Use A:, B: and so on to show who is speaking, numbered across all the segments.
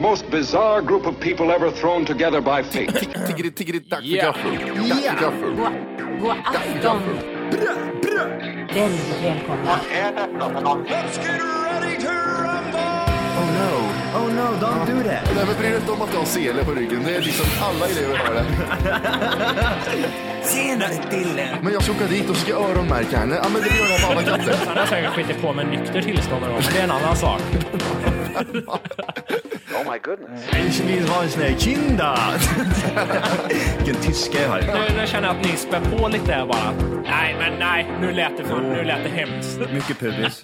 A: most bizarre group of people ever thrown together by fate.
B: Tiggeri, tiggeri, dack för
C: Ja.
B: gaffel. Dack för gaffel.
D: God, god afton. Väldigt välkomna.
E: Oh no, oh no, don't do that.
B: Nej, men bry dig inte om att jag har sele på ryggen. Det är liksom alla elever har det.
E: Senare Dille.
B: Men jag ska åka dit och ska öronmärka henne. Ja, men det gör jag på alla katter.
C: Han har säkert skitit på med nykter tillstånd då, men det är en annan sak.
E: Ich will ha en sån här kinda. Vilken tyska jag har.
C: Nu, nu känner jag att ni spär på lite här bara. Nej, men nej, nu lät det, fan, nu lät det hemskt.
F: Mycket pubis.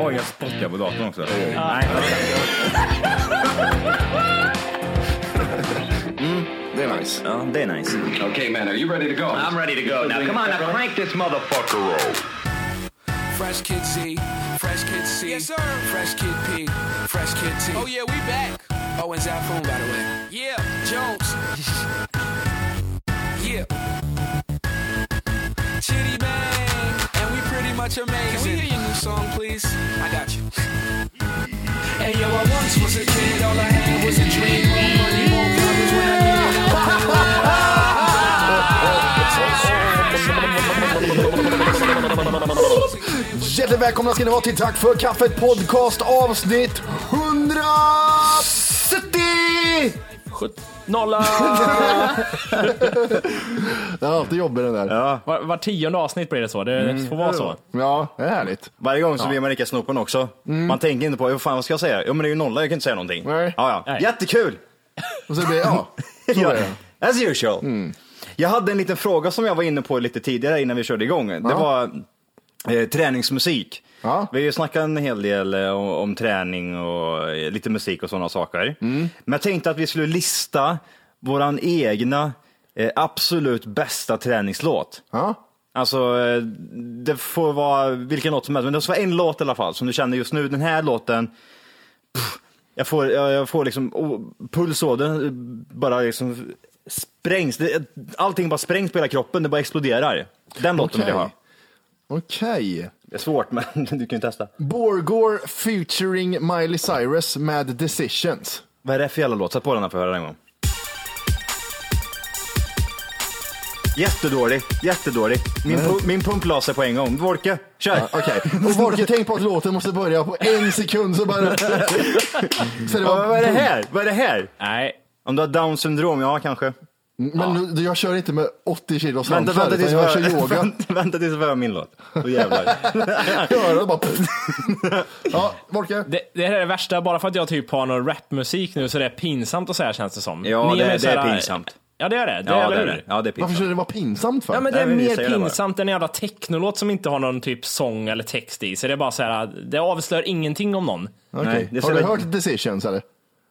F: Oj, jag spottar på datorn också.
B: Det är nice.
F: Ja, det är nice.
A: okay, man, are you ready to go?
G: I'm ready to go. Now, come on, now crank this motherfucker roll.
H: Fresh Kid Z, Fresh Kid C, yes sir. Fresh Kid P, Fresh Kid T. Oh yeah, we back. Oh, and Zaphon, by the way. Yeah, Jones. yeah. Chitty Bang, and we pretty much amazing. Can we hear your new song, please? I got you. Hey yo, I once was a kid, all I had was a dream. More money, more problems when I needed help.
B: Hjärtligt välkomna ska ni vara till Tack för kaffet podcast avsnitt 170!
C: Nolla!
B: Den är alltid jobbig den där.
F: Ja,
C: Var, var tionde avsnitt blir det så. Det
F: Mm.
C: får vara så.
B: Ja, det är härligt.
F: varje gång så blir man lika snopen också. Man tänker inte på, vad fan vad ska jag säga? Jo men det är ju nolla, jag kan inte säga någonting.
B: Mm. Nej.
F: Ja, ja.
C: Nej.
F: Jättekul!
B: Och så blir ja, så är
F: Ja,
B: det. Mm.
F: as usual. Jag hade en liten fråga som jag var inne på lite tidigare innan vi körde igång. Det
B: Ja.
F: var eh, träningsmusik.
B: Ja.
F: Vi har ju snackat en hel del eh, om, om träning och eh, lite musik och sådana saker.
B: Mm.
F: Men jag tänkte att vi skulle lista våran egna eh, absolut bästa träningslåt.
B: Ja.
F: Alltså, eh, det får vara vilken låt som helst, men det ska vara en låt i alla fall som du känner just nu. Den här låten, pff, jag, får, jag, jag får liksom o- puls av den, eh, bara liksom sprängs. Det, allting bara sprängs på hela kroppen, det bara exploderar. Den låten vill jag ha.
B: Okej. Okej.
F: Det är svårt, men du kan ju testa.
B: Borgore featuring Miley Cyrus med Decisions.
F: Vad är det för jävla låt? Sätt på den här för att höra den en gång. Jättedålig, jättedålig. Min, pu- min pump la sig på en gång. Volke, kör!
B: Ja, Okej, och Volker tänk på att låten måste börja på en sekund så bara... så det
F: Vad
B: var...
F: är det här? Vad är det här?
C: Nej.
F: Om du har down syndrom, ja kanske.
B: Men nu, jag kör inte med 80 kilos
F: Vänta,
B: hantlar,
F: vänta
B: utan
F: tills
B: jag kör
F: jag
B: yoga.
F: vänta, vänta tills jag hör min låt. Då jävlar.
B: Öronen bara... ja, Volker.
C: Det, det här är det värsta, bara för att jag typ har någon rapmusik nu så det är pinsamt att säga känns det som.
F: Ja,
C: Ni
F: det-
C: med
F: det
C: så här-
F: är pinsamt.
C: Ja, det är det. det
F: ja,
C: är,
F: det
C: eller
F: är
C: hur?
F: det. Ja, det
B: Varför
F: är pinsamt.
B: skulle det vara pinsamt för?
C: Ja, men det
F: Nej,
C: är
F: men vi
C: mer
F: säger det bara.
C: pinsamt än en jävla technolåt som inte har någon typ sång eller text i sig. Det är bara så här, det avslöjar ingenting om någon.
B: Okej.
F: Nej, det är så
B: Har du
F: jävla-
B: hört Decisions eller?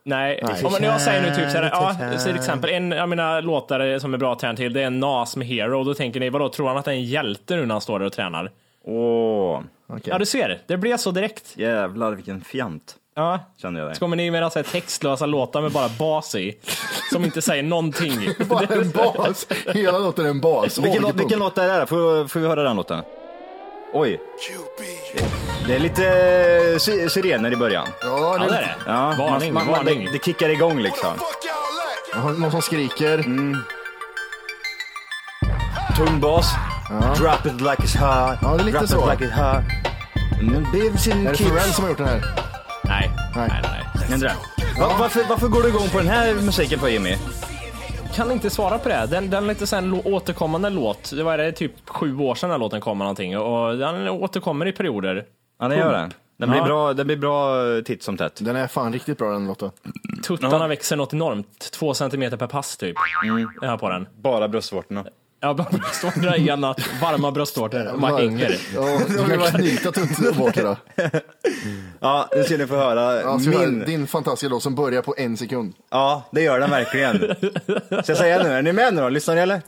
C: Nej, om man, jag säger nu typ såhär, ja, så till exempel en av mina låtar som är bra att träna till, det är Nas med Hero, och då tänker ni, vadå, tror han att han är en hjälte nu när han står där och tränar?
F: Åh,
C: Ja, du ser, det blev så direkt.
F: jävlar vilken fjant.
C: Ja.
F: Kände jag dig.
C: Så kommer ni med era så här textlösa låtar med bara bas i, som inte säger någonting.
B: Bara en bas. Hela låten är en bas.
F: Vilken, låt-
B: Oljepump.
F: vilken låt är det? här? Får, får vi höra den låten? Oj. Det är lite sy- sirener i början.
B: Ja,
C: Ja, det är
B: det...
C: det.
F: Ja,
C: varning, varning.
F: Det, det kickar igång liksom.
B: Ja, Någon som skriker.
F: Mm. Tung bas. Drop it like it's hot.
B: Ja, det är lite
F: Drop
B: så.
F: it like it's hot. Mm, babes in
B: Är det
F: kids.
B: Pharrell som har gjort den här?
C: Nej,
B: Nej.
C: nej, nej.
F: Händer det? Va, varför, varför går du igång på den här musiken på Jimmy?
C: Kan inte svara på det. Den, den lite sån lo- återkommande låt, det var det typ sju år sedan den här låten kom eller någonting, och den återkommer i perioder.
F: Ja, den gör det. Den blir,
C: Ja.
F: bra, den blir bra eh, titt som tätt.
B: Den är fan riktigt bra den låten.
C: Tuttarna växer något enormt, två centimeter per pass typ.
F: Mm.
C: Jag har på den.
F: Bara bröstvårtorna.
C: Ja, bara bröstvårtorna är ena, varma bröstvårtor. Man hänger.
B: Ja, du kan knyta tunt bort det då.
F: Ja, nu ska ni få höra
B: Ja, så
F: min.
B: hör, din fantastiska låt som börjar på en sekund.
F: Ja, det gör den verkligen. Ska jag säga nu? Är ni med nu då? Lyssnar ni eller?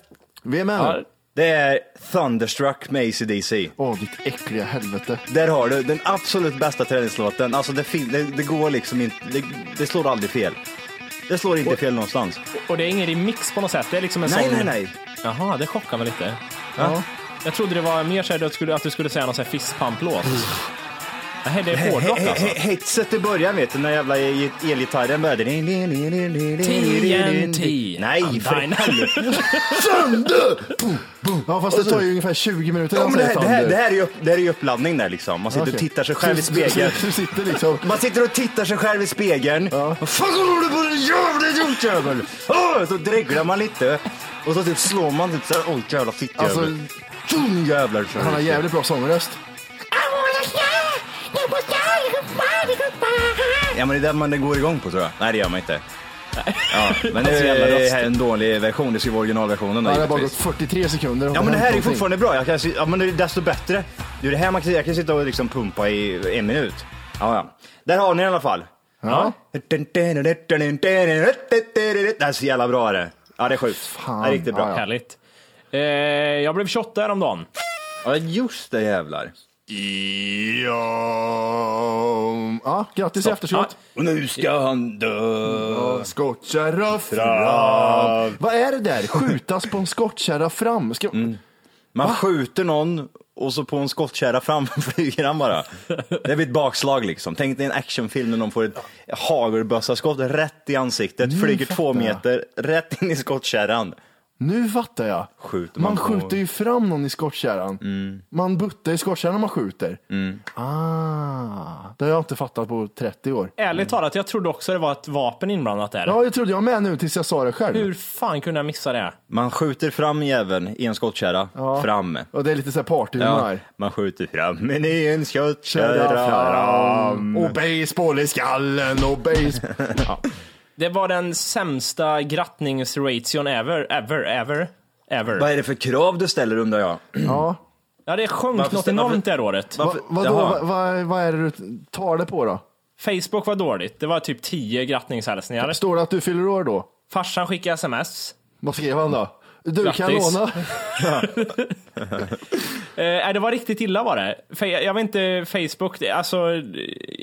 B: Vi är med nu.
F: Det är Thunderstruck med ACDC.
B: Åh, ditt äckliga helvete.
F: Där har du den absolut bästa träningslåten. Alltså det, fin- det, det går liksom inte, det, det slår aldrig fel. Det slår inte fel någonstans.
C: Och det är ingen remix på något sätt. Det är liksom en
F: Nej,
C: sån...
F: nej, nej.
C: Jaha, det chockar mig lite. Jag trodde det var mer så här att du skulle, att du skulle säga någon sån här fistpump-låt. Nej, det är hårdrock alltså.
F: Mm. He- he- Hetset i början vet du, när jävla gi- elgitarren började.
C: TNT.
F: Nej, för
C: Undyne.
F: helvete.
B: Sönder! Boom, boom. Ja, fast det tar ju ungefär 20 minuter.
F: Ja, men det, här- det, här-
B: Thunder.
F: det här är ju upp, det här är ju uppladdning där liksom. Man sitter
B: Okej.
F: och tittar sig själv i
B: Så- så-
F: spegeln.
B: så- så sitter liksom.
F: Man sitter och tittar sig själv i spegeln. Vad fan håller du på med jävla jordjävel? Åh, Så dreglar man lite. Och så typ slår man typ såhär, oj jävla fittjävel.
B: Alltså,
F: Dum jävlar. så här.
B: Han har jävligt bra sångröst.
F: Ja men det är det man det går igång på tror jag. Nej det gör man inte. Ja, men det
C: Alltså, jävla
F: är
C: röst.
F: här är en dålig version, det ska ju vara originalversionen då,
B: Han har bara gått
F: givetvis.
B: 43 sekunder. och
F: Ja men det
B: hänt
F: här är ju
B: någonting.
F: fortfarande bra, jag kan, se- ja, men det är desto bättre. Det är det här man kan, jag kan sitta och liksom pumpa i en minut. Ja, ja. Där har ni den i alla fall.
B: Ja.
F: Det här är så jävla bra är det. Ja det är sjukt. det är riktigt bra. Ja,
C: Härligt. Eh, jag blev 28 häromdagen.
F: just det jävlar.
B: Ja, ja grattis i efterskott.
F: Och nu ska han dö.
B: Skottkärra fram. Vad är det där? Skjutas på en skottkärra fram? Ska...
F: Mm. Man skjuter någon och så på en skottkärra framför flyger han bara. Det blir ett bakslag liksom. Tänk dig en actionfilm när någon får ett hagelbössaskott rätt i ansiktet, flyger två
B: fattar jag.
F: meter, rätt in i skottkärran.
B: Nu fattar jag.
F: Skjuter
B: man
F: man på-
B: skjuter ju fram någon i skottkärran. Man buttar i skottkärran när man skjuter. Ah, det har jag inte fattat på 30 år.
F: Mm.
C: Ärligt talat, jag trodde också det var ett vapen inblandat där.
B: Ja, det trodde jag med nu tills jag sa det själv.
C: Hur fan kunde jag missa det?
F: Man skjuter fram jäveln i en skottkärra, fram.
B: Och det är lite så här partyhumör.
F: Ja, man skjuter fram men i en
B: Kärra
F: skottkärra.
B: fram. Och baseball i skallen och baseball.
C: Det var den sämsta grattningsration ever, ever, ever,
F: Vad
C: ever.
F: är det för krav du ställer undrar jag?
B: ja.
C: Ja, det sjönk något
F: Varför- varför-
C: enormt det här året.
B: Va, vadå,
F: Jaha.
B: va, va, vad är det du tar det på då?
C: Facebook var dåligt. Det var typ 10 grattningshälsningar.
B: Står det att du fyller år då?
C: Farsan skickade sms.
B: Vad skrev han då? Du kan
C: Grattis.
B: låna.
C: Eh, nej, det var riktigt illa var det. Fe- jag vet inte, Facebook, det- alltså, eh,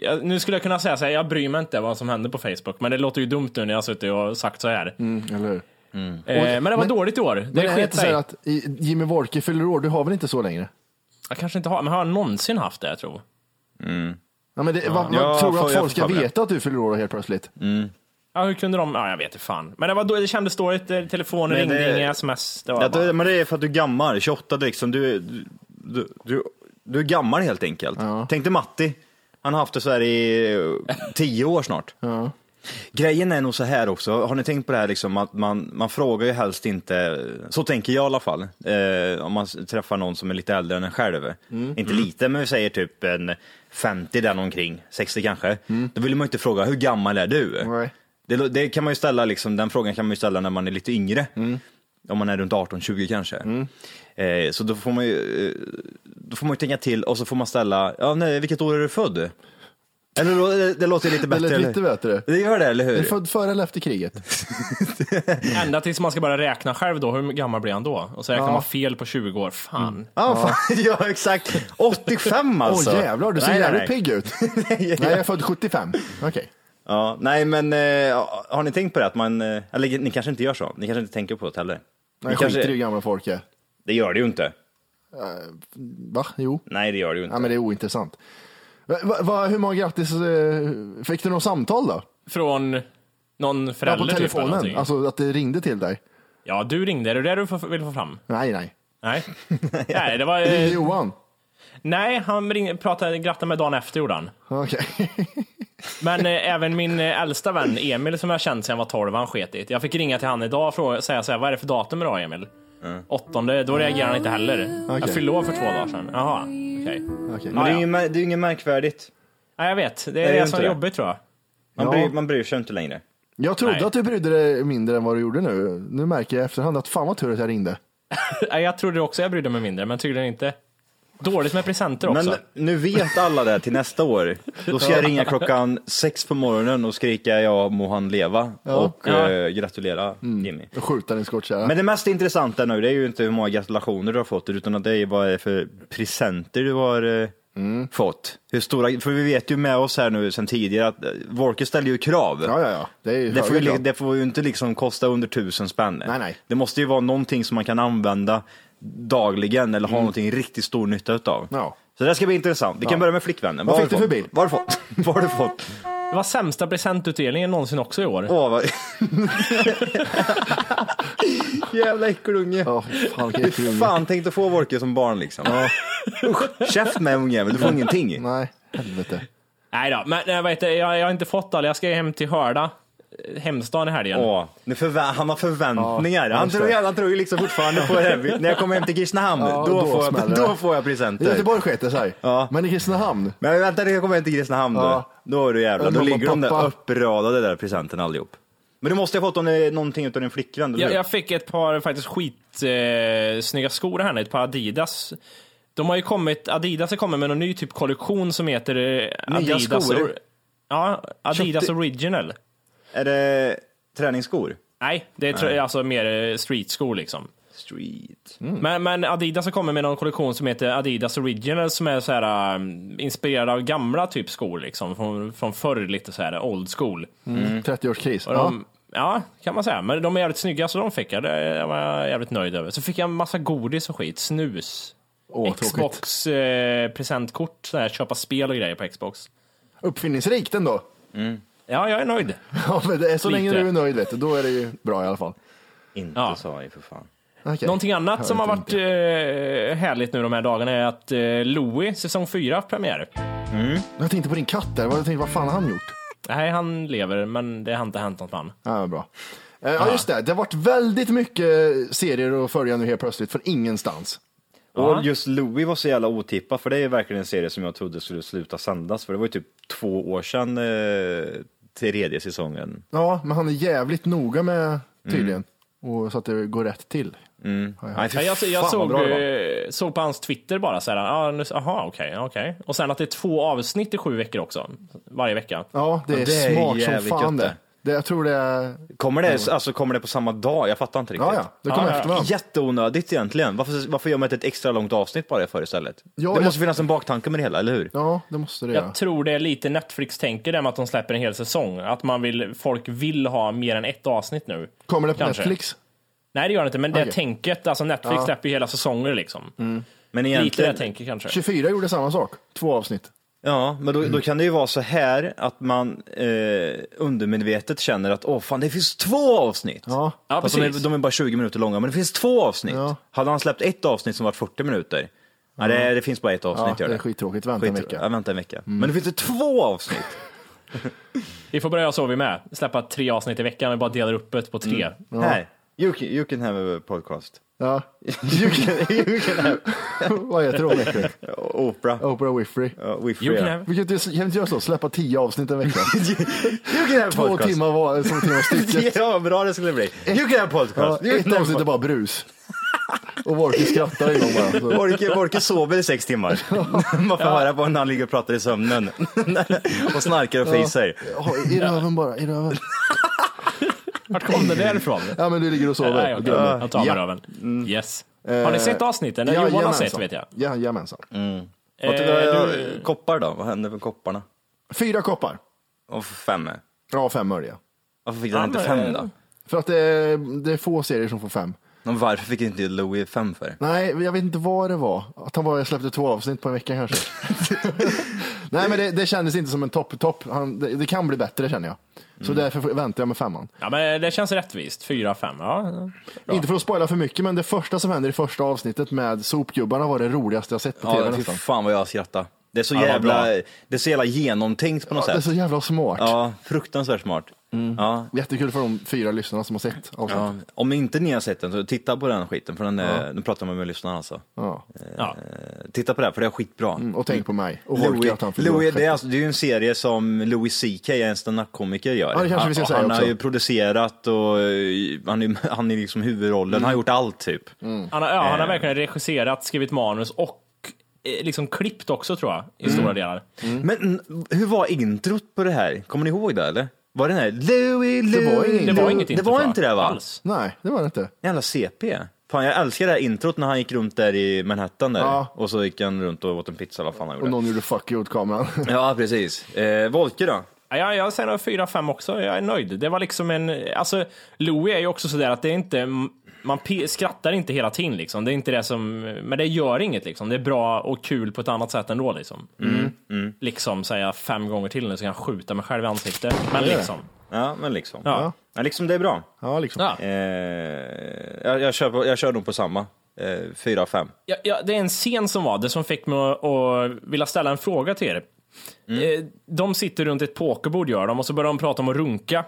C: jag- nu skulle jag kunna säga så här, jag bryr mig inte vad som händer på Facebook, men det låter ju dumt nu när jag har suttit och sagt så här.
F: Mm.
B: Eller hur?
C: Eh, men det var
B: men-
C: dåligt i år.
B: Men
C: Det
B: är det
C: sket
B: inte så här
C: sig.
B: att i- Jimmy Wolke fyller år, du har väl inte så längre?
C: Jag kanske inte har, men har jag någonsin haft det, jag tror?
B: Ja, men det, va, va,
F: Ja, Mm.
B: tror du
F: får-
B: att
F: jag
B: folk
F: får
B: ska
F: för mig.
B: veta att du fyller år helt plötsligt?
C: Ja, hur kunde de? Ja, jag vet inte fan. Men det, var då, det kändes dåligt. eh, Telefonen
F: Men
C: ringde,
F: det-
C: inga sms. Det
F: Ja,
C: var
F: det,
C: bara...
F: men det är för att du är gammal, 28 liksom. Du, är- du, du, du är gammal helt enkelt. Tänk dig Matti, han har haft det så här i eh, 10 år snart. Grejen är nog så här också, har ni tänkt på det här liksom att man, man frågar ju helst inte, så tänker jag i alla fall, eh, om man s- träffar någon som är lite äldre än en själv. Inte lite, men vi säger typ en 50 där omkring, 60 kanske. Då vill man ju inte fråga, hur gammal är du?
B: Nej.
F: Det, lo- det kan man ju ställa, liksom, den frågan kan man ju ställa när man är lite yngre.
B: Mm.
F: Om man är runt 18-20 kanske. Eh, så då får, man ju, eh, då får man ju tänka till och så får man ställa, ja, nej, vilket år är du född? Eller lo- det, det låter ju lite
B: Det
F: bättre.
B: lät
F: eller?
B: lite bättre.
F: Det gör det, eller hur?
B: Är du född före eller efter kriget?
C: Ända tills man ska börja räkna själv då, hur gammal blir han då? Och så räknar man fel på 20 år. Fan.
F: Ja, fan, ja, exakt. 85
B: Åh
F: alltså.
B: jävlar, du ser
F: Nej, nej,
B: jävligt
F: nej.
B: pigg ut. nej, jag är född 75. Okej.
F: Ja, nej, men eh, har ni tänkt på det? Att man, eh, eller ni kanske inte gör så. Ni kanske inte tänker på det heller.
B: Nej,
F: Ni
B: skiter i hur
F: kanske,
B: gamla folk är. Eh,
F: det gör det ju inte.
B: Va? Jo.
F: Nej, det gör det ju inte.
B: Ja, men det är ointressant. Va, va- va, hur många grattis eh, fick du något samtal då?
C: Från någon
B: Ja,
C: förälder
B: på
C: typ, eller
B: telefonen?
C: någonting.
B: alltså att det ringde till dig?
C: Ja, du ringde. Är det det du får- vill få fram?
B: Nej, nej.
C: Nej. nej, det var...
B: Ringde
C: Eh,
B: Johan?
C: nej, han ringde, pratade, grattade mig dagen efter gjorde han.
B: Okej.
C: Men eh, även min eh, äldsta vän Emil som jag känt sedan jag var 12, han sket i det. Jag fick ringa till han idag och fråga, säga så här, vad är det för datum idag Emil? Åttonde, då reagerar han inte heller. Jag
B: Okej.
C: fyllde år för två dagar sedan. Jaha, okej.
B: Okej.
F: Men det är
C: Ja,
F: ju mär- det är ju inget märkvärdigt.
C: Ja, jag vet, det
F: det
C: är
F: är
C: det
F: inte
C: som är
F: det.
C: jobbigt tror jag.
F: Man,
B: Ja.
F: bryr, man bryr sig inte längre.
B: Jag trodde
C: Nej.
B: att du brydde dig mindre än vad du gjorde nu. Nu märker jag i efterhand att fan vad tur att jag ringde.
C: Nej, Jag trodde också jag brydde mig mindre, men tydligen inte. Dåligt med presenter också.
F: Men nu vet alla det till nästa år. Då ska jag ringa klockan sex på morgonen och skrika ja må han leva och
C: Ja.
F: eh, gratulera Jimmy.
B: Och skjuta din skottkärra.
F: Men det mest intressanta nu det är ju inte hur många gratulationer du har fått utan att det är vad det är för presenter du har eh, fått. Hur stora, för vi vet ju med oss här nu sedan tidigare att eh, Wolke ställer ju krav.
B: Ja, ja, ja. Det är ju
F: Det får, ju,
B: höga
F: li-
B: krav.
F: det får ju inte liksom kosta under tusen spänn.
B: Nej, nej.
F: Det måste ju vara någonting som man kan använda dagligen eller ha någonting riktigt stor nytta utav.
B: Mm. Ja.
F: Så det här ska bli intressant. Vi kan börja med flickvännen.
B: Vad
F: har
B: fick du
F: fått?
B: för bil?
F: Vad har du fått? Vad har du fått?
C: Det var sämsta presentutdelningen någonsin också i år.
F: Åh, vad... Jävla äckelunge.
B: Ja, fy fan, vilken
F: Hur
B: äcklig unge.
F: fan tänkte få Wolke som barn liksom? Usch, käft med ungjävel, du får ingenting.
B: Nej, helvete.
C: Nej då, men jag, vet, jag, jag har inte fått alla. Jag ska hem till Hörda, eh, hemstaden i helgen.
F: Åh, nu förvä- han har förväntningar.
B: Ja,
F: han,
B: just
F: tror,
B: det.
F: han tror ju liksom fortfarande på det. här. När jag kommer hem till Kristinehamn,
B: Ja,
F: då,
B: då
F: får
B: smäller
F: jag,
B: det.
F: då får jag
B: I
F: presenter.
B: Göteborg sket det sig.
F: Ja.
B: Men i Kristinehamn,
F: Men vänta när jag kommer hem till Kristinehamn
B: Ja.
F: då. Då är du jävlar,
B: Men
F: då
B: mamma,
F: ligger de där
B: pappa.
F: uppradade där presenterna allihop. Men du måste ha fått om det är någonting utav din flickvän, eller
C: Jag,
F: hur?
C: jag fick ett par faktiskt skitsnygga eh, snygga skor här nu, ett par Adidas. De har ju kommit, Adidas har kommit med någon ny typ kollektion som heter eh,
F: Nya
C: Adidas,
F: skor?
C: or- ja, Adidas
F: Köpte-
C: original.
F: Är det träningsskor?
C: Nej, det är tr- alltså mer eh, streetskor liksom.
F: Street.
C: Men, men Adidas har kommit med någon kollektion som heter Adidas original som är så här, um, inspirerad av gamla typ skor liksom, från, från förr lite så här old school.
F: Mm.
B: 30-årskris.
C: Och de, ja. kan man säga. Men de är jävligt snygga, så de fick jag. Det var jag jävligt nöjd över. Så fick jag en massa godis och skit. Snus.
B: Åh, tråkigt.
C: Xbox eh, presentkort, så här, köpa spel och grejer på Xbox.
B: Uppfinningsrikt ändå.
C: Ja, jag är nöjd.
B: Ja, men det är så
C: Lite.
B: länge du är nöjd vet du, då är det ju bra i alla fall.
F: Inte
C: Ja.
F: sa jag ju för fan.
B: Okay.
C: Någonting annat som har varit eh, härligt nu de här dagarna är att eh, Louis, säsong 4, har premiär.
B: Jag tänkte på din katt där, Vad- jag tänkte, vad fan har han gjort?
C: Nej, han lever, men det har inte hänt något med han.
B: Ja, bra. Eh,
F: Ah.
B: Ja just det, det har varit väldigt mycket serier att följa nu helt plötsligt från ingenstans.
F: Och just Louis var så jävla otippat, för det är verkligen en serie som jag trodde skulle sluta sändas, för det var ju typ två år sedan eh, tredje säsongen.
B: Ja, men han är jävligt noga med tydligen.
F: Mm.
B: Och så att det går rätt till.
F: Nej, för
C: Ja, jag jag
F: fan, vad
C: såg,
F: bra det var.
C: eh, såg på hans Twitter bara så här, ah, nu- aha okej, okej. Och sen att det är två avsnitt i sju veckor också, varje vecka.
B: Ja, det är,
F: Ja, det är
B: smart som
F: jävligt
B: fan det.
F: gött
B: det. Jag tror det är...
F: Kommer det, alltså, kommer det på samma dag? Jag fattar inte riktigt.
B: Ja, ja, det kommer
C: Ja, ja.
B: efter varandra.
F: Jätteonödigt egentligen. Varför, varför gör man inte ett extra långt avsnitt bara för istället?
B: Ja,
F: det
B: jag-
F: måste finnas en baktanke med det hela, eller hur?
B: Ja, det måste det göra.
C: Jag tror det är lite Netflix-tänker där med att de släpper en hel säsong. Att man vill, folk vill ha mer än ett avsnitt nu.
B: Kommer det på
C: Kanske.
B: Netflix?
C: Nej, det gör det inte, men det
B: Okej.
C: tänket, alltså Netflix släpper ju hela säsonger liksom.
F: Men
C: Lite det
F: Mm. egentligen,
C: tänket kanske.
B: 24 gjorde samma sak, två avsnitt.
F: ja, men då, då kan det ju vara så här att man eh, undermedvetet känner att åh fan, det finns två avsnitt.
B: Ja.
C: Ja,
F: Fast de, är,
C: precis.
F: de är bara 20 minuter långa, men det finns två avsnitt.
B: Ja.
F: Hade han släppt ett avsnitt som var 40 minuter, nej, det, det finns bara ett avsnitt.
B: Ja,
F: gör
B: det är skittråkigt. Vänta en vecka. Mm.
F: Ja, vänta en vecka. Men det finns det två avsnitt?
C: Vi får börja så vi med. Släppa tre avsnitt i veckan, vi bara delar upp det på tre.
F: Mm. Här, you can, you can have a podcast.
B: Ja.
F: You can, you can have
B: Vad heter hon verkligen?
F: Oprah.
B: Oprah Winfrey.
F: Uh, we
C: You can have...
B: Vi kan inte- kan vi inte göra så, släppa 10 avsnitt en vecka.
F: You can have
B: Två
F: podcast.
B: timmar var, två timmar stycket.
F: Ja, vad bra det skulle bli. You can have
B: Ja,
F: podcast. You can
B: ett
F: have
B: avsnitt är bara brus. Och Wolke skrattar en gång bara. Så.
F: Borke, Borke sover i sex timmar. Man får höra på när han ligger och pratar i sömnen. och snarkar och fiser.
B: Ja, I röven bara, i röven.
C: Vart kom det där ifrån?
B: Ja men du ligger och sover.
C: Nej,
B: och
C: okej.
B: drömmer.
C: Jag tar mig röven.
F: Mm.
C: Yes.
F: Eh,
C: Har ni sett avsnitten? Ja, Johan har sett
B: Jajamensan.
C: vet jag.
B: Jajamensan.
F: Vad tycker
C: Eh,
F: jag-
C: du-
F: Koppar då? Vad hände med kopparna?
B: Fyra koppar.
F: Och fem?
B: Ja, fem öre. ja.
F: Varför fick han inte
C: men-
F: fem då?
B: För att det är, det är få serier som får fem.
F: Men varför fick inte Louis fem för?
B: Nej, jag vet inte vad det var. Att han bara släppte två avsnitt på en vecka kanske. Nej, men det, det kändes inte som en topp-topp. Han- Det, det kan bli bättre känner jag. Så
F: Mm.
B: därför får- väntar jag med femman.
C: Ja, men det känns rättvist. Fyra, fem. Ja.
B: Inte för att spoila för mycket, men det första som händer i första avsnittet med sopgubbarna var det roligaste jag sett på tv
F: Ja, fy
B: nästan.
F: fan vad jag skrattar. Det är så
C: vad
F: jävla,
C: bra.
F: det är så jävla genomtänkt på något
B: Det är så Mm.
F: sätt.
B: jävla smart.
F: Ja, fruktansvärt smart. Ja,
B: Jättekul för de fyra lyssnarna som har sett avsnittet.
F: Ja, om inte ni har sett den så titta på den skiten, för den är, nu pratar man med lyssnarna alltså.
B: Ja.
C: Ja.
F: Eh, Titta på det här, för det är skitbra.
B: Mm, Och tänk på mig. Och Holke,
F: Louis,
B: att han förlorar
F: Louis, det, är
B: skeppet.
F: alltså, det är ju en serie som Louis CK, en standup-komiker, gör.
B: Ja, det kanske vi ska
F: han,
B: säga
F: han har
B: också.
F: ju producerat och eh, han är, han är liksom huvudrollen, han har
B: Mm.
F: gjort allt typ.
C: Han, har, ja, han har verkligen regisserat, skrivit manus och eh, liksom klippt också tror jag, i
F: Mm.
C: stora delar.
F: Men n- hur var introt på det här? Kommer ni ihåg det eller? Var det den här Louis, Louis?
B: var inget
C: Det
B: intro.
C: var inget
F: Det
C: intro,
F: var
C: tror jag.
F: inte det va?
C: Alls.
B: Nej, det var det inte.
F: Jävla CP. Fan jag älskar det här introt när han gick runt där i Manhattan där.
B: Ja.
F: Och så gick han runt och åt en pizza eller vad fan han
B: Och
F: gjorde.
B: någon gjorde fuck you åt kameran.
F: Ja precis. Eh, Volke då?
C: Ja, jag, jag säger nog fyra, fem också. Jag är nöjd. Det var liksom en... Alltså, Louis är ju också sådär att det är inte... man pe- skrattar inte hela tiden liksom. Det är inte det som, men det gör inget liksom. Det är bra och kul på ett annat sätt ändå liksom.
F: Mm.
C: Liksom säga fem gånger till nu så kan jag skjuta mig själv i ansiktet. Men liksom.
F: Ja, men liksom. Ja.
C: Ja.
F: liksom det är bra.
B: Ja, liksom.
C: Ja.
F: Eh, jag, jag, kör på, jag kör nog på samma. Eh, fyra av fem.
C: Ja, ja, det är en scen som var det som fick mig att, att vilja ställa en fråga till er. Eh, De sitter runt ett pokerbord gör de och så börjar de prata om att runka.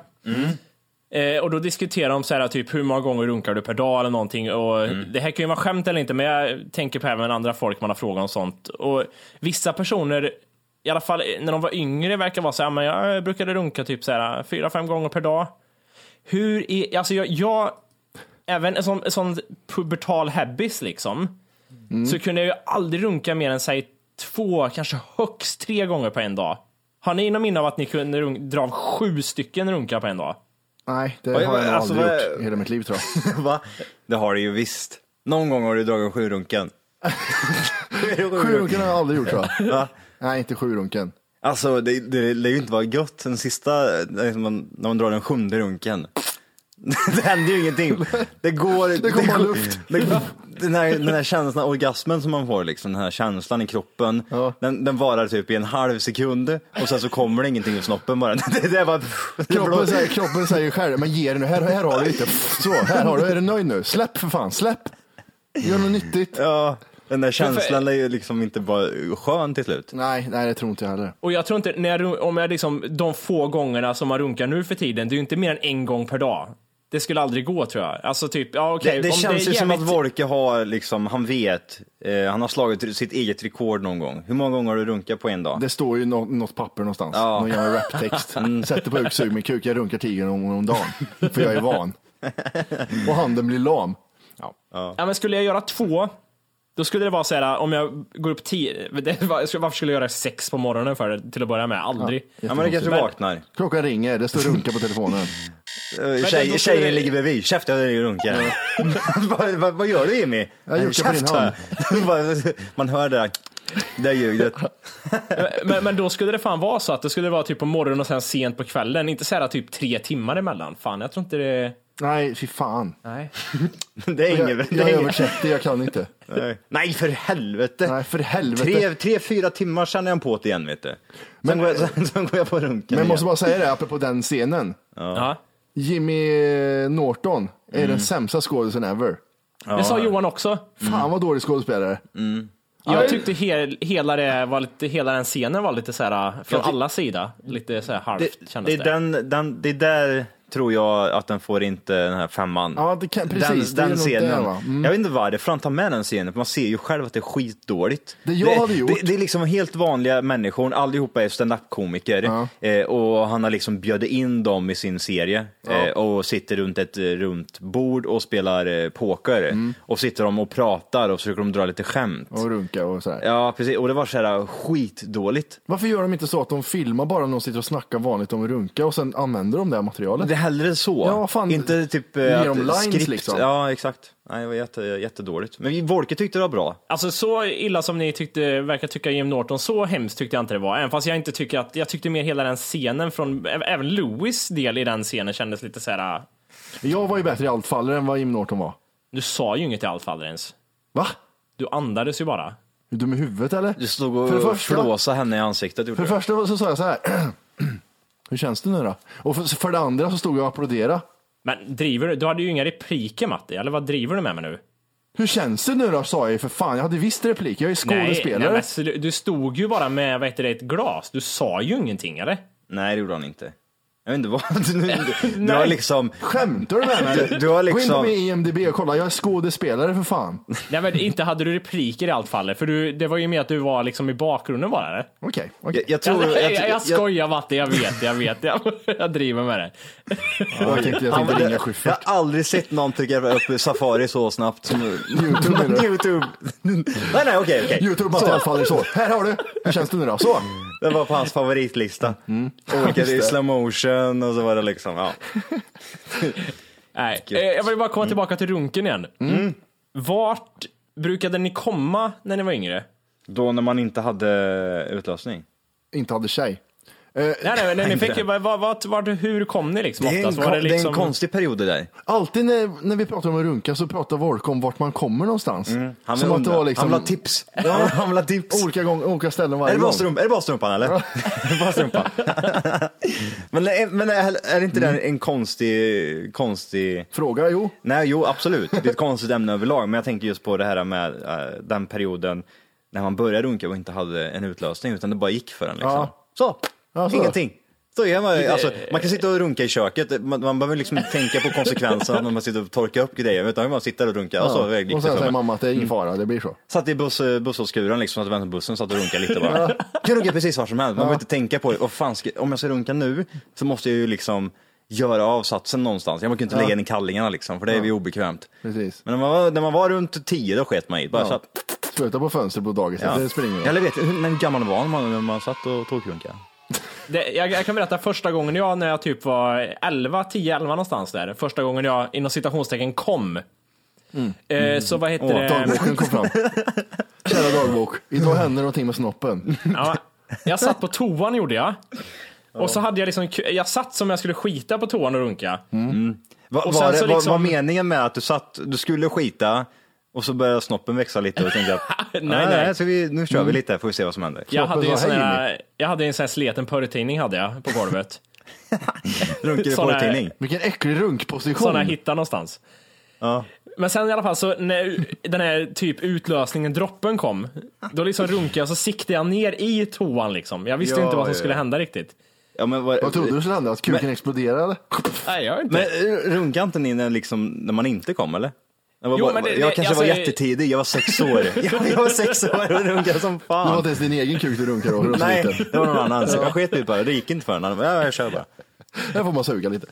C: Eh, Och då diskuterar de så här, typ hur många gånger runkar du per dag eller någonting. Och Det här kan ju vara skämt eller inte, men jag tänker på även andra folk man har frågat om sånt. Och vissa personer, i alla fall när de var yngre, verkar vara så här, men jag brukade runka typ så här fyra, fem gånger per dag. Hur är, alltså jag, jag även en sån, en sån pubertal hebbis liksom,
F: Mm.
C: så kunde jag ju aldrig runka mer än säg två, kanske högst tre gånger på en dag. Har ni någon minne av att ni kunde runk- dra av sju stycken runkar på en dag?
B: Nej, det
F: Oj,
B: har jag nog
F: alltså,
B: aldrig
F: vad-
B: gjort i hela mitt liv tror jag.
F: Va? Det har du ju visst. Någon gång har du dragit sjurunken.
B: Sju runken har jag aldrig gjort tror jag.
F: Va?
B: Nej, inte sju runken.
F: Alltså det, det lär ju inte vara gött den sista, när man, när man drar den sjunde runken. Det händer ju ingenting. Det går... Det
B: kommer
F: går-
B: bara luft.
F: Det, den, här, den här känslan, orgasmen som man får, liksom, den här känslan i kroppen,
B: Ja.
F: den, den varar typ i en halv sekund och sen så kommer det ingenting ur snoppen bara. Det, det är bara det är blå-
B: Kroppen säger, kroppen säger själv, men ge dig nu, här, här har du lite. Så, här har du, är du nöjd nu? Släpp för fan, släpp. Gör något nyttigt.
F: Ja, den där känslan är ju liksom inte bara skön till slut.
B: Nej, nej det tror inte jag heller.
C: Och jag tror inte, när jag, run- om jag liksom, de få gångerna som man runkar nu för tiden, det är ju inte mer än en gång per dag. Det skulle aldrig gå tror jag. Alltså typ, ja okej.
F: Det, det
C: om
F: känns
C: är
F: ju som att
C: jävligt-
F: Wolke har, liksom, han vet, eh, han har slagit sitt eget rekord någon gång. Hur många gånger har du runkat på en dag?
B: Det står ju nå- något papper någonstans.
F: Ja. Mm.
B: Någon jävla raptext. Sätter på huk, sug min kuk, jag runkar tio gånger om dagen. För jag är van. Och handen blir lam.
C: Ja, men skulle jag göra två, då skulle det vara så här, om jag går upp tio, det, var- varför skulle jag göra sex på morgonen för det, till att börja med? Aldrig.
F: Ja men det kanske
C: Men-
F: vaknar.
B: Klockan ringer, det står runka på telefonen.
C: då
F: Eh,
C: skulle
F: Tjej, tjejen
C: det-
F: ligger bredvid. Käften, jag runkar. vad, vad, vad gör du Jimmy?
B: Jag
F: "Nej,
B: runkar på din
F: käften." Bara- Man hör det där, det där ljudet.
C: Men, men då skulle det fan vara så att det skulle vara typ på morgonen och sen sent på kvällen, inte så här typ tre timmar emellan. Fan, jag tror inte det...
B: Nej, fy fan.
C: Nej.
F: Det är
B: Jag,
F: inget.
B: jag
F: det
B: är
F: är
B: över
F: inget.
B: 30, jag kan inte.
F: Nej. Nej för helvete.
B: Nej, för helvete.
F: Tre, tre, fyra timmar känner jag på det igen vet du. Sen,
B: Men-
F: går, jag, sen, sen går jag på runken
B: Men jag
F: igen.
B: måste bara säga det, apropå den scenen.
C: Ja.
B: Jimmy Norton är den sämsta skådisen ever.
C: Det sa Johan också.
B: Fan
F: Mm.
B: vad dålig skådespelare.
C: Jag tyckte hel, hela, det var lite, hela den scenen var lite så här eh, från alla sida, lite så här halvt
F: det, det,
C: kändes
F: är
C: det.
F: den, den, det är där tror jag att den får inte den här femman.
B: Ja, det kan, precis.
F: den,
B: det
F: den
B: är nog
F: scenen.
B: Där, va? Mm.
F: Jag vet inte varför han tar med den scenen, för man ser ju själv att det är skitdåligt.
B: Det jag hade gjort-
F: Det, det är liksom helt vanliga människor, allihopa är standup-komiker eh, och han har liksom bjöd in dem i sin serie eh, och sitter runt ett eh, runt bord och spelar eh, poker
B: Mm.
F: och sitter de och pratar och försöker de dra lite skämt.
B: Och runka och sådär.
F: Ja, precis. Och det var så här eh, skitdåligt.
B: Varför gör de inte så att de filmar bara när de sitter och snackar vanligt om att runka och sen använder de det här materialet?
F: Det är hellre så.
B: Ja, fan.
F: Inte typ eh,
B: Ge
F: att-
B: dem lines,
F: skript.
B: liksom.
F: Ja, exakt. Nej, det var jätte, jättedåligt. Men Wolke tyckte det var bra.
C: Alltså så illa som ni tyckte, verkar tycka Jim Norton, så hemskt tyckte jag inte det var. Även fast jag inte tycker att, jag tyckte mer hela den scenen från, ä- även Louis del i den scenen kändes lite så här. eh,
B: Jag var ju bättre i allt faller än vad Jim Norton var.
C: du sa ju inget i alla fall ens.
B: Va?
C: Du andades ju bara.
B: Är du dum i huvudet eller?
F: Du stod och
B: För det
F: för
B: första-
F: flåsade henne i ansiktet. gjorde
B: För det
F: du.
B: första så sa jag så här. Hur känns det nu då? Och för, för det andra så stod jag och applåderade.
C: Men driver du? Du hade ju inga repliker Matti, eller vad driver du med mig nu?
B: Hur känns det nu då? Sa jag ju för fan. Jag hade visst replik. Jag är ju skådespelare.
C: men slu- du stod ju bara med vad heter det, ett glas. Du sa ju ingenting eller?
F: Nej, det gjorde han inte. Jag vet inte vad. Du, du, du har liksom...
B: Skämtar du med mig?
F: Du- du har
B: Gå
F: liksom-
B: in på min IMDB och kolla. Jag är skådespelare för fan.
C: Nej men inte hade du repliker i allt fall. För du, det var ju mer att du var liksom i bakgrunden bara. Eller?
B: Okej. okej.
F: Jag, jag tror...
C: Jag, jag,
F: tror-
C: jag, skojar Matti, jag vet, jag vet. Jag, jag driver med det.
B: Jag tänkte jag tänkte ringa
F: jag
B: Schyffert.
F: har aldrig sett någon trycka upp Safari så snabbt som nu.
B: YouTube, eller?
F: Youtube. nej, nej, okej, okej.
B: Youtube Matti
F: Så.
B: allt faller så. Här har du. Hur känns det nu då? Så.
F: Det var på hans favoritlista.
B: Mm.
F: Olika i slow motion och så var det liksom, ja.
C: Nej, eh, jag vill bara komma tillbaka till runken igen.
F: Mm.
C: Vart brukade ni komma när ni var yngre?
F: Då när man inte hade utlösning.
B: Inte hade tjej. Eh,
C: Nej, nej, men ni fick ju, vad, vad, vad, hur kom ni liksom?
F: Det är, en,
C: Oftast var det
F: kon- det är
C: liksom...
F: en konstig period det där.
B: Alltid när, när vi pratar om att runka så pratar Volk om vart man kommer någonstans.
F: Mm, Han vill,
B: Som att det var
F: undra.
B: liksom
F: han vill ha tips. han vill ha tips.
B: olika, gång, olika ställen
F: Är
B: varje
F: det, bara
B: gång.
F: strump, är det bara strumpan eller? Är det bara strumpan. men är, men är, är inte det en konstig, konstig...
B: Fråga, jo.
F: Nej, jo absolut. Det är ett konstigt ämne överlag. Men jag tänker just på det här med eh, den perioden när man började runka och inte hade en utlösning utan det bara gick för en. Liksom.
B: Ja.
F: Så,
B: Ja, så.
F: ingenting. Så är man, alltså, man kan sitta och runka i köket, man, man behöver liksom inte tänka på konsekvenserna när man sitter och torkar upp grejer, utan man sitter och runkar. Och så, liksom. Mm. gick det
B: och sen
F: för
B: säger
F: mig.
B: mamma att det är ingen fara, det blir så.
F: Satt i buss, busshållskuren liksom, satt och väntade på bussen, satt och runkade lite bara. kan runka precis var som helst, man behöver inte tänka på det. Vad fan ska, om jag ska runka nu så måste jag ju liksom göra avsatsen någonstans. Jag kan ju inte lägga in i kallingarna liksom, för det är ju obekvämt.
B: Precis.
F: Men när man var, när man var runt tio då sket man i det. bara så att,
B: Spruta på fönstret på dagiset,
F: ja.
B: det springer ju.
F: Eller vet du, hur men hur gammal var man när man satt och tokrunkade?
C: Det, jag, jag kan berätta första gången jag, när jag typ var 11, 10, 11 någonstans där, första gången jag inom citationstecken kom. Eh, så vad heter det?
B: Dagboken kom fram. Kära dagbok, idag händer någonting med snoppen.
C: Ja, jag satt på toan gjorde jag. Och så hade jag liksom, ku- jag satt som jag skulle skita på toan och runka.
F: Va,
C: Och sen
F: var, det,
C: så
F: var, var
C: liksom-
F: meningen med att du satt, du skulle skita och så började snoppen växa lite och tänkte att
C: Nej,
F: "Ah,
C: nej. Mm.
F: Så vi, nu kör vi lite, får vi se vad som händer.
C: Jag hade, ju en
B: sa,
C: sån
B: "Hej,
C: här, jag hade ju en sån här sleten porrtidning hade jag på golvet.
F: Runkar i
C: Sån här-
F: porrtidning.
B: Vilken äcklig runkposition.
C: Sån jag hittade någonstans.
F: Ja.
C: Men sen i alla fall så när den här typ utlösningen, droppen kom, då liksom runkade jag så siktade jag ner i toan liksom. Jag visste
F: Ja,
C: inte vad som
F: ja,
C: skulle
F: ja.
C: hända riktigt.
F: Ja, men vad,
B: Vad trodde du skulle hända? Att kuken
F: Men-
B: exploderade?
C: Nej, jag inte.
F: Men runkar inte ni när, liksom, när man inte kom eller? Jag, var
C: Jo,
F: bara,
C: men det-
F: jag
C: det-
F: kanske
C: alltså-
F: var jättetidig, jag var sex år. jag, jag var sex år och runkade som
B: Det var
F: fan.
B: inte ens din egen kuk du runkade och
F: Nej,
B: lite.
F: det var någon annans. Jag sket i bara, det gick inte för honom. Ja, jag kör bara.
B: Där får man suga lite.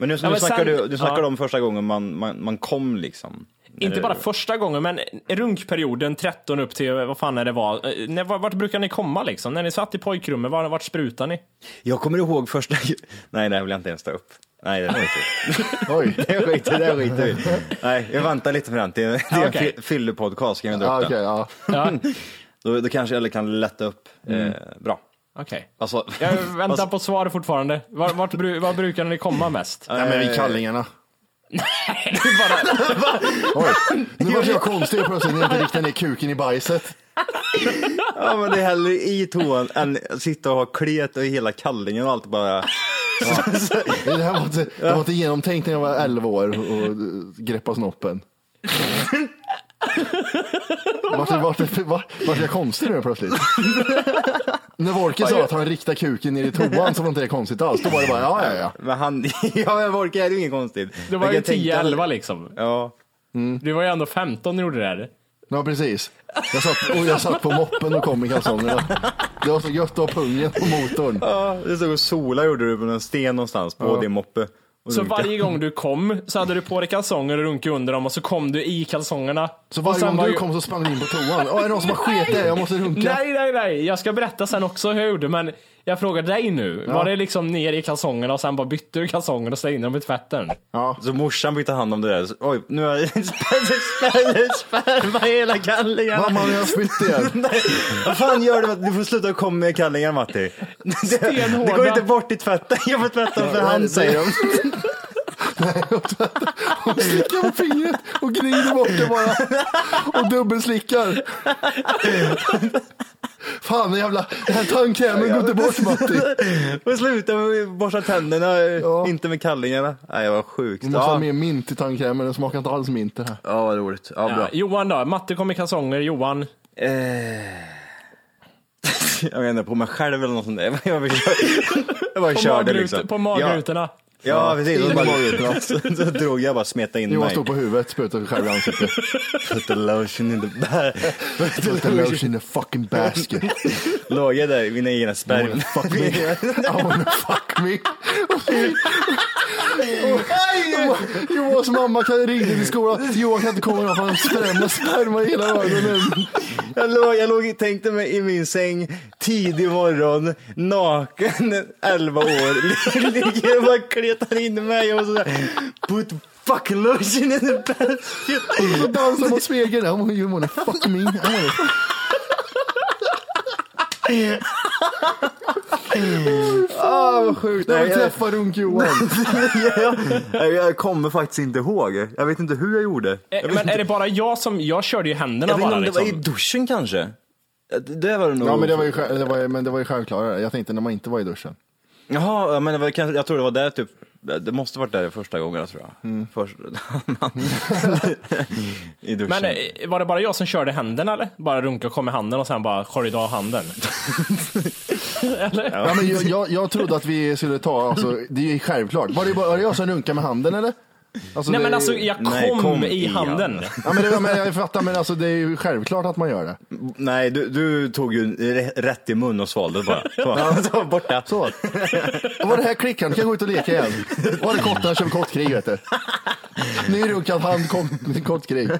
F: Men nu, nu
C: Ja, men
F: snackar
C: sen-
F: du, du snackar
C: ja.
F: om första gången man, man, man kom liksom.
C: Inte
F: Eller-
C: bara första gången, men runkperioden 13 upp till, vad fan är det var? Eh, När, vart brukar ni komma liksom? När ni satt i pojkrummet, var, vart sprutar ni?
F: Jag kommer ihåg första... Nej, det här vill jag inte ens ta upp. Nej, det skiter vi
B: Oj.
F: Det skiter det skiter vi Nej, jag väntar lite med den. Det är det är en
C: okej.
F: fy- fyllepodcast, kan vi dra
B: Ja,
F: upp
B: okej,
F: den.
B: ja.
C: Ja,
F: Då, då kanske jag kan lätta upp. Eh, bra.
C: okej.
F: Alltså,
C: Jag
F: alltså-
C: väntar på svar fortfarande. Vart, vart, bru- var brukar ni komma mest?
B: Nej men i kallingarna. Oj, nu vart jag konstig plötsligt när jag inte riktade ner kuken i bajset.
F: Ja men det är hellre i toan än att sitta och ha klet och hela kallingen och allt bara.
B: Det här var inte, det var inte genomtänkt när jag var 11 år och greppa snoppen. Vart, vart, vart, vart jag konstig nu plötsligt? När Wolke sa att han riktar kuken ner i toan så var inte det konstigt alls. Då var det bara, ja ja ja.
F: Men han, ja jag orkar, det är inget konstigt.
C: Det var
F: Men
C: ju
F: jag tänkte-
C: 10-11 liksom.
F: Ja.
C: Du var ju ändå 15 när du gjorde det här.
B: Ja precis. Jag satt, och jag satt på moppen och kom i kalsongerna. Det var så gött att ha pungen på motorn.
F: ja, det stod och sola gjorde du på en sten någonstans på din moppe. Och
C: Så
F: runka.
C: varje gång du kom så hade du på dig kalsonger och runkade under dem och så kom du i kalsongerna.
B: Så
C: Och
B: varje
C: sen
B: gång
C: var
B: du
C: ju-
B: kom så sprang du in på toan. Åh, är det någon som har skit där? Jag måste runka.
C: Nej, nej, nej. Jag ska berätta sen också hur jag gjorde, men jag frågar dig nu. Var det liksom ner i kalsongerna och sen bara bytte du kalsongerna och slängde in dem i tvätten?
F: Så morsan fick ta hand om det där. Så, Oj, nu har jag spärr- sperma i hela kallingen.
B: Mamma, nu har jag spytt igen.
F: Nej, Vad fan gör du? Du får sluta komma med kallingar Matti. Det, det går inte bort i tvätten. Jag får tvätta dem för hand säger de.
B: Och slickar på fingret och gnider bort det bara. Och dubbelslickar. Fan, den jävla, den här tandkrämen går inte bort Matti.
F: Och sluta med att borsta tänderna, inte med kallingarna. Nej, jag var sjukt.
B: Vi måste ha
F: Ja,
B: mer mint i tandkrämen, den smakar inte alls mint det här.
F: ja vad roligt. Ja,
C: Ja,
F: bra.
C: Johan då? Matte kom i kalsonger, Johan.
F: Jag menar på mig själv eller något sånt där. Jag bara, jag bara
C: På,
F: körde
C: magrutor-
F: liksom.
C: på magrutorna.
F: Ja, ja precis. Och
B: In
F: så
B: i
F: bara, så, så drog jag bara smeta in
B: Johan
F: mig.
B: stod på huvudet, sprutade sig själv i ansiktet.
F: Put the lotion in the bag.
B: Put the lotion in the fucking basket.
F: Låg jag där i mina egna
B: I wanna
F: sperm.
B: fuck me. I wanna fuck me. Och- Johans mamma kan ringde till skolan. Johan kan inte komma idag för han sprämmer sperma i hela ögonen.
F: Jag låg, jag låg tänkte mig i min säng tidig morgon, naken, 11 år, ligger och bara kletar in mig och sådär. Put fucking lotion in the basket.
B: Och dansar mot spegeln. I wanna- You wanna fuck me. I wanna... Ah,
F: Åh, vad sjukt.
B: Jag
F: Nej,
B: vill
F: jag,
B: träffa Runk-Johan.
F: jag, jag kommer faktiskt inte ihåg. Jag vet inte hur jag gjorde. Jag
C: Eh,
F: vet
C: Men
F: inte.
C: är det bara jag som, jag körde ju händerna
F: Jag vet inte
C: bara
F: om det var i
C: liksom.
F: duschen kanske? Det- Det var det nog.
B: Ja men det var ju, själv- det var, ju- men det var ju självklarare. Jag tänkte när man inte var i duschen.
F: Jaha, ja, men det var, kanske- jag tror det var där typ. Det måste varit där första gången tror jag.
C: Mm.
F: Först, I duschen.
C: Men eh, var det bara jag som körde händerna eller? Bara runka kom med handen och sen bara skölj av handen. eller?
B: Ja, men jag, jag, jag trodde att vi skulle ta, alltså, det är ju självklart. Var det, bara, var det jag som runkade med handen eller? Alltså,
C: Nej
B: det är
C: men
B: ju-
C: alltså jag kom,
F: Nej, kom
C: i
F: i
C: handen.
F: handen.
B: Ja, men, det, ja, men jag fattar, men alltså, det är ju självklart att man gör det.
F: Nej, du, du tog ju re- rätt i mun och svalde bara. Så, så, borta.
B: Så. Och var det här klickar, nu kan jag gå ut och leka igen. Var det kottarna kör kottkrig vet du. Ny runkad hand, kott- kottkrig.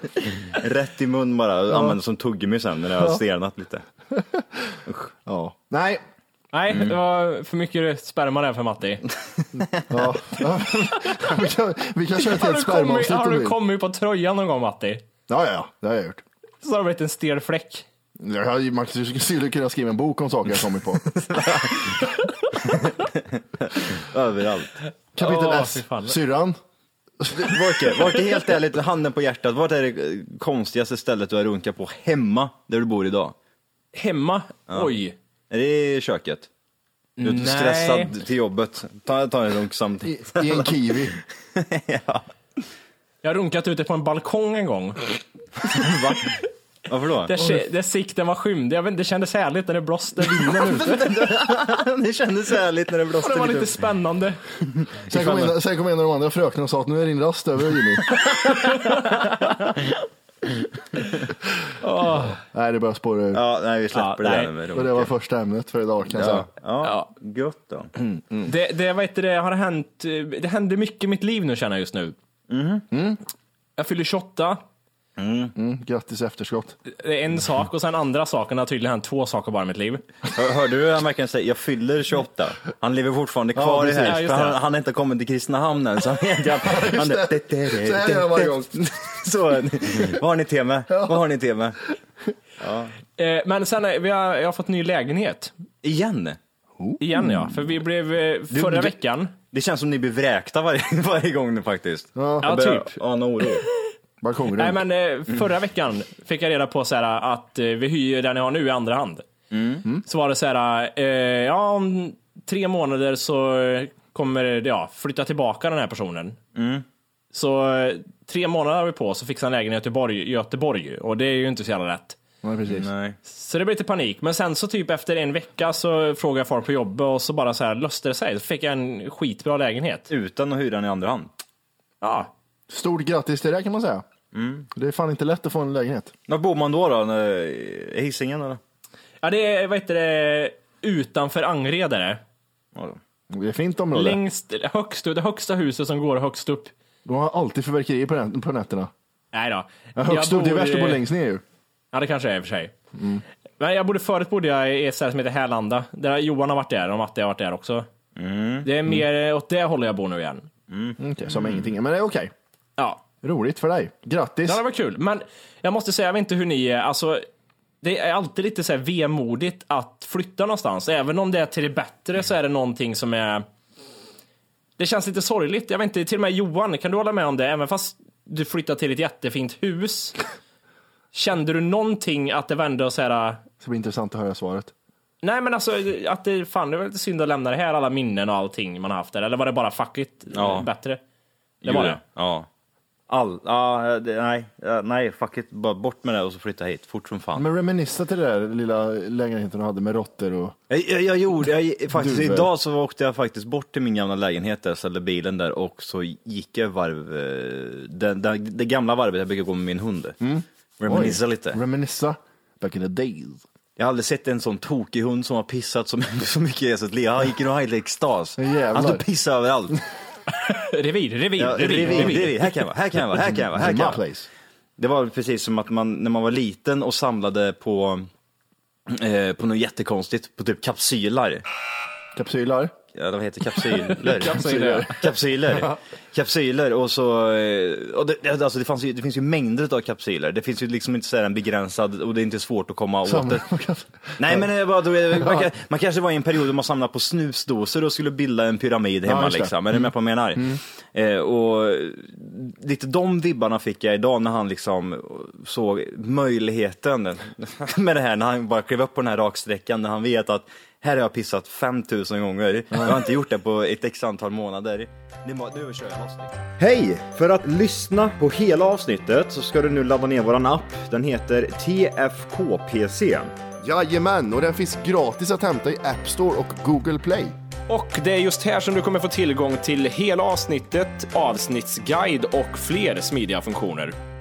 F: Rätt i mun bara. Använde som tuggummi sen när det har stelnat lite.
B: Ja. Nej.
C: Nej,
B: Mm.
C: det var för mycket sperma där för Matti.
B: Ja. vi, kan, vi kan köra ett
C: Har
B: helt
C: du, kommit,
B: spermaavsnitt
C: har
B: om du
C: du
B: vill.
C: kommit på tröjan någon gång Matti?
B: Ja, ja, det har jag gjort.
C: Så har det blivit en stel fläck.
B: Jag hade ju- Man skulle kunna skriva en bok om saker jag kommit på.
F: Överallt.
B: Kapitel
C: Åh, fy
B: S.
C: fan.
B: Syrran.
F: Volke, Volke, helt ärligt, handen på hjärtat. Vart är det eh, konstigaste stället du har runkat på hemma, där du bor idag?
C: Hemma? Oj.
F: Är det i köket? Du är
C: Nej.
F: stressad till jobbet. Ta, ta en runk
B: I,
F: samtidigt.
B: I en kiwi.
C: Jag har runkat ute på en balkong en gång.
F: Va? Varför då?
C: Där, se- där sikten var skymd. Jag vet, inte, det kändes härligt när det blåste vinden ute.
F: det kändes härligt när det blåste
C: Det var
F: lite.
C: lite spännande.
B: Sen kom, en, sen kom en av de andra fröknarna och sa att nu är din rast över Jimmy. Nej, det börjar spåra ur.
F: Ja, nej, vi släpper
C: Ja,
F: det
C: nej.
F: där med
B: Och det var första ämnet för idag kan jag säga.
F: Ja, ja,
C: Ja.
F: gött då.
C: Det, det, vad heter det, har hänt, eh, det händer mycket i mitt liv nu känner jag just nu.
F: Mm-hmm.
C: Mm. Jag fyller 28,
B: Mm, grattis i efterskott.
C: det är en sak och sen andra saken har tydligen hänt två saker bara i mitt liv.
F: Hör, hörde du hur han verkligen säger, jag fyller 28. Han lever fortfarande kvar i
B: precis.
F: här,
C: Ja,
F: för
C: just det.
F: han, han har inte kommit till Kristinehamn än. Så han, vet inte- han, han, det, det, det,
B: Så här gör jag varje gång.
F: Så, vad har ni tema? Vad har ni tema?
C: Eh, Men sen, eh, vi har, jag har fått ny lägenhet.
F: Igen?
C: Igen ja, för vi blev eh, förra
F: Mm. du-
C: veckan.
F: Det känns som ni blir vräkta varje, varje gång nu faktiskt.
B: Ja.
C: Ja,
F: Jag börjar
C: typ.
F: Ana oro.
B: Balkongrunk.
C: Nej men
F: Mm.
C: eh, förra veckan fick jag reda på så här, att eh, vi hyr den jag har nu i andra hand.
F: Mm.
C: Så var det så här, eh, ja om tre månader så eh, kommer det, ja, flytta tillbaka den här personen.
F: Mm.
C: Så eh, tre månader har vi på oss att fixa en lägenhet i Göteborg, i Göteborg och det är ju inte så jävla lätt.
B: Nej, precis.
F: Nej.
C: Så det blev lite panik, men sen så typ efter en vecka så frågade jag folk på jobbet och så bara så här löste det sig. Så fick jag en skitbra lägenhet.
F: Utan att hyra den i andra hand.
C: Ja,
B: Stort grattis till det kan man säga.
F: Mm.
B: Det är fan inte lätt att få en lägenhet.
F: Var bor man då? då? I Hisingen eller?
C: ja det är, vad heter det, utanför Angered är det.
F: Ja, då.
B: Det är fint område.
C: Längst, högst, upp- det högsta huset som går högst upp.
B: De har alltid fyrverkerier på, nä- på nätterna.
C: Nej då.
B: Ja, högst upp, det är värst att bo längst Mm. ner ju.
C: Ja, det kanske är i och för sig. Men jag bodde, förut bodde jag i ett ställe som heter Härlanda. Där Johan har varit där och Matte har varit där också. Det är mer åt det hållet jag bor nu igen.
B: Mm, okej, som ingenting, men det är okej.
C: Ja,
B: Roligt för dig. Grattis.
C: Ja, det var kul. Men jag måste säga, jag vet inte hur ni är. Alltså, det är alltid lite så här vemodigt att flytta någonstans. Även om det är till det bättre så är det någonting som är... Det känns lite sorgligt. Jag vet inte, till och med Johan, kan du hålla med om det? Även fast du flyttar till ett jättefint hus. Kände du någonting att det vände och så här...
B: Det ska bli intressant att höra svaret.
C: Nej men alltså att det, fan det var lite synd att lämna det här, alla minnen och allting man har haft där. Eller var det bara fuck it,
F: Ja.
C: bättre? Det var
F: Gjorde
C: det.
F: Ja. All, ja, det, nej, ja, nej, fuck it. Bara bort med det och så flytta hit fort som fan.
B: Men reminissa till det där lilla lägenheten du hade med råttor och...
F: Jag, jag, jag gjorde, jag, faktiskt
B: Duver.
F: idag så åkte jag faktiskt bort till min gamla lägenhet där jag ställde bilen där och så gick jag varv, eh, den, den, det gamla varvet jag brukar gå med min hund. Reminissa
B: Mm. Oj,
F: lite.
B: Reminissa. Back in the days.
F: Jag har aldrig sett en sån tokig hund som har pissat så, så mycket i sitt liv. Han gick nog helt i extas.
B: Jävlar.
F: Han stod och pissade överallt.
C: Revir, revir,
F: Ja,
C: revir, revir.
F: Här kan jag vara, här kan jag vara, här kan jag vara. Här
B: My
F: kan jag vara.
B: place.
F: Det var precis som att man, när man var liten och samlade på, eh, på något jättekonstigt, på typ kapsylar.
B: Kapsylar.
F: ja, de heter kapsyler.
C: Kapsyler.
F: kapsyler. Kapsyler och så, eh, och det, det- alltså det, fanns ju, det finns ju mängder av kapsyler. Det finns ju liksom inte sådär en begränsad och det är inte svårt att komma åt det. Nej men eh, vad, man, kan- man kanske var i en period då man samlade på snusdosor och skulle bilda en pyramid hemma
B: just det. Mm.
F: liksom. Är du med på vad jag menar? Eh, och lite de vibbarna fick jag idag när han liksom såg möjligheten med det här, när han bara klev upp på den här raksträckan när han vet att här har jag pissat 5000 gånger. Jag har inte gjort det på ett x antal månader. Nu, må- nu kör jag loss liksom. Hej! För att lyssna på hela avsnittet så ska du nu ladda ner våran app. Den heter TFKPC.
B: Jajamän, och den finns gratis att hämta i App Store och Google Play.
I: Och det är just här som du kommer få tillgång till hela avsnittet, avsnittsguide och fler smidiga funktioner.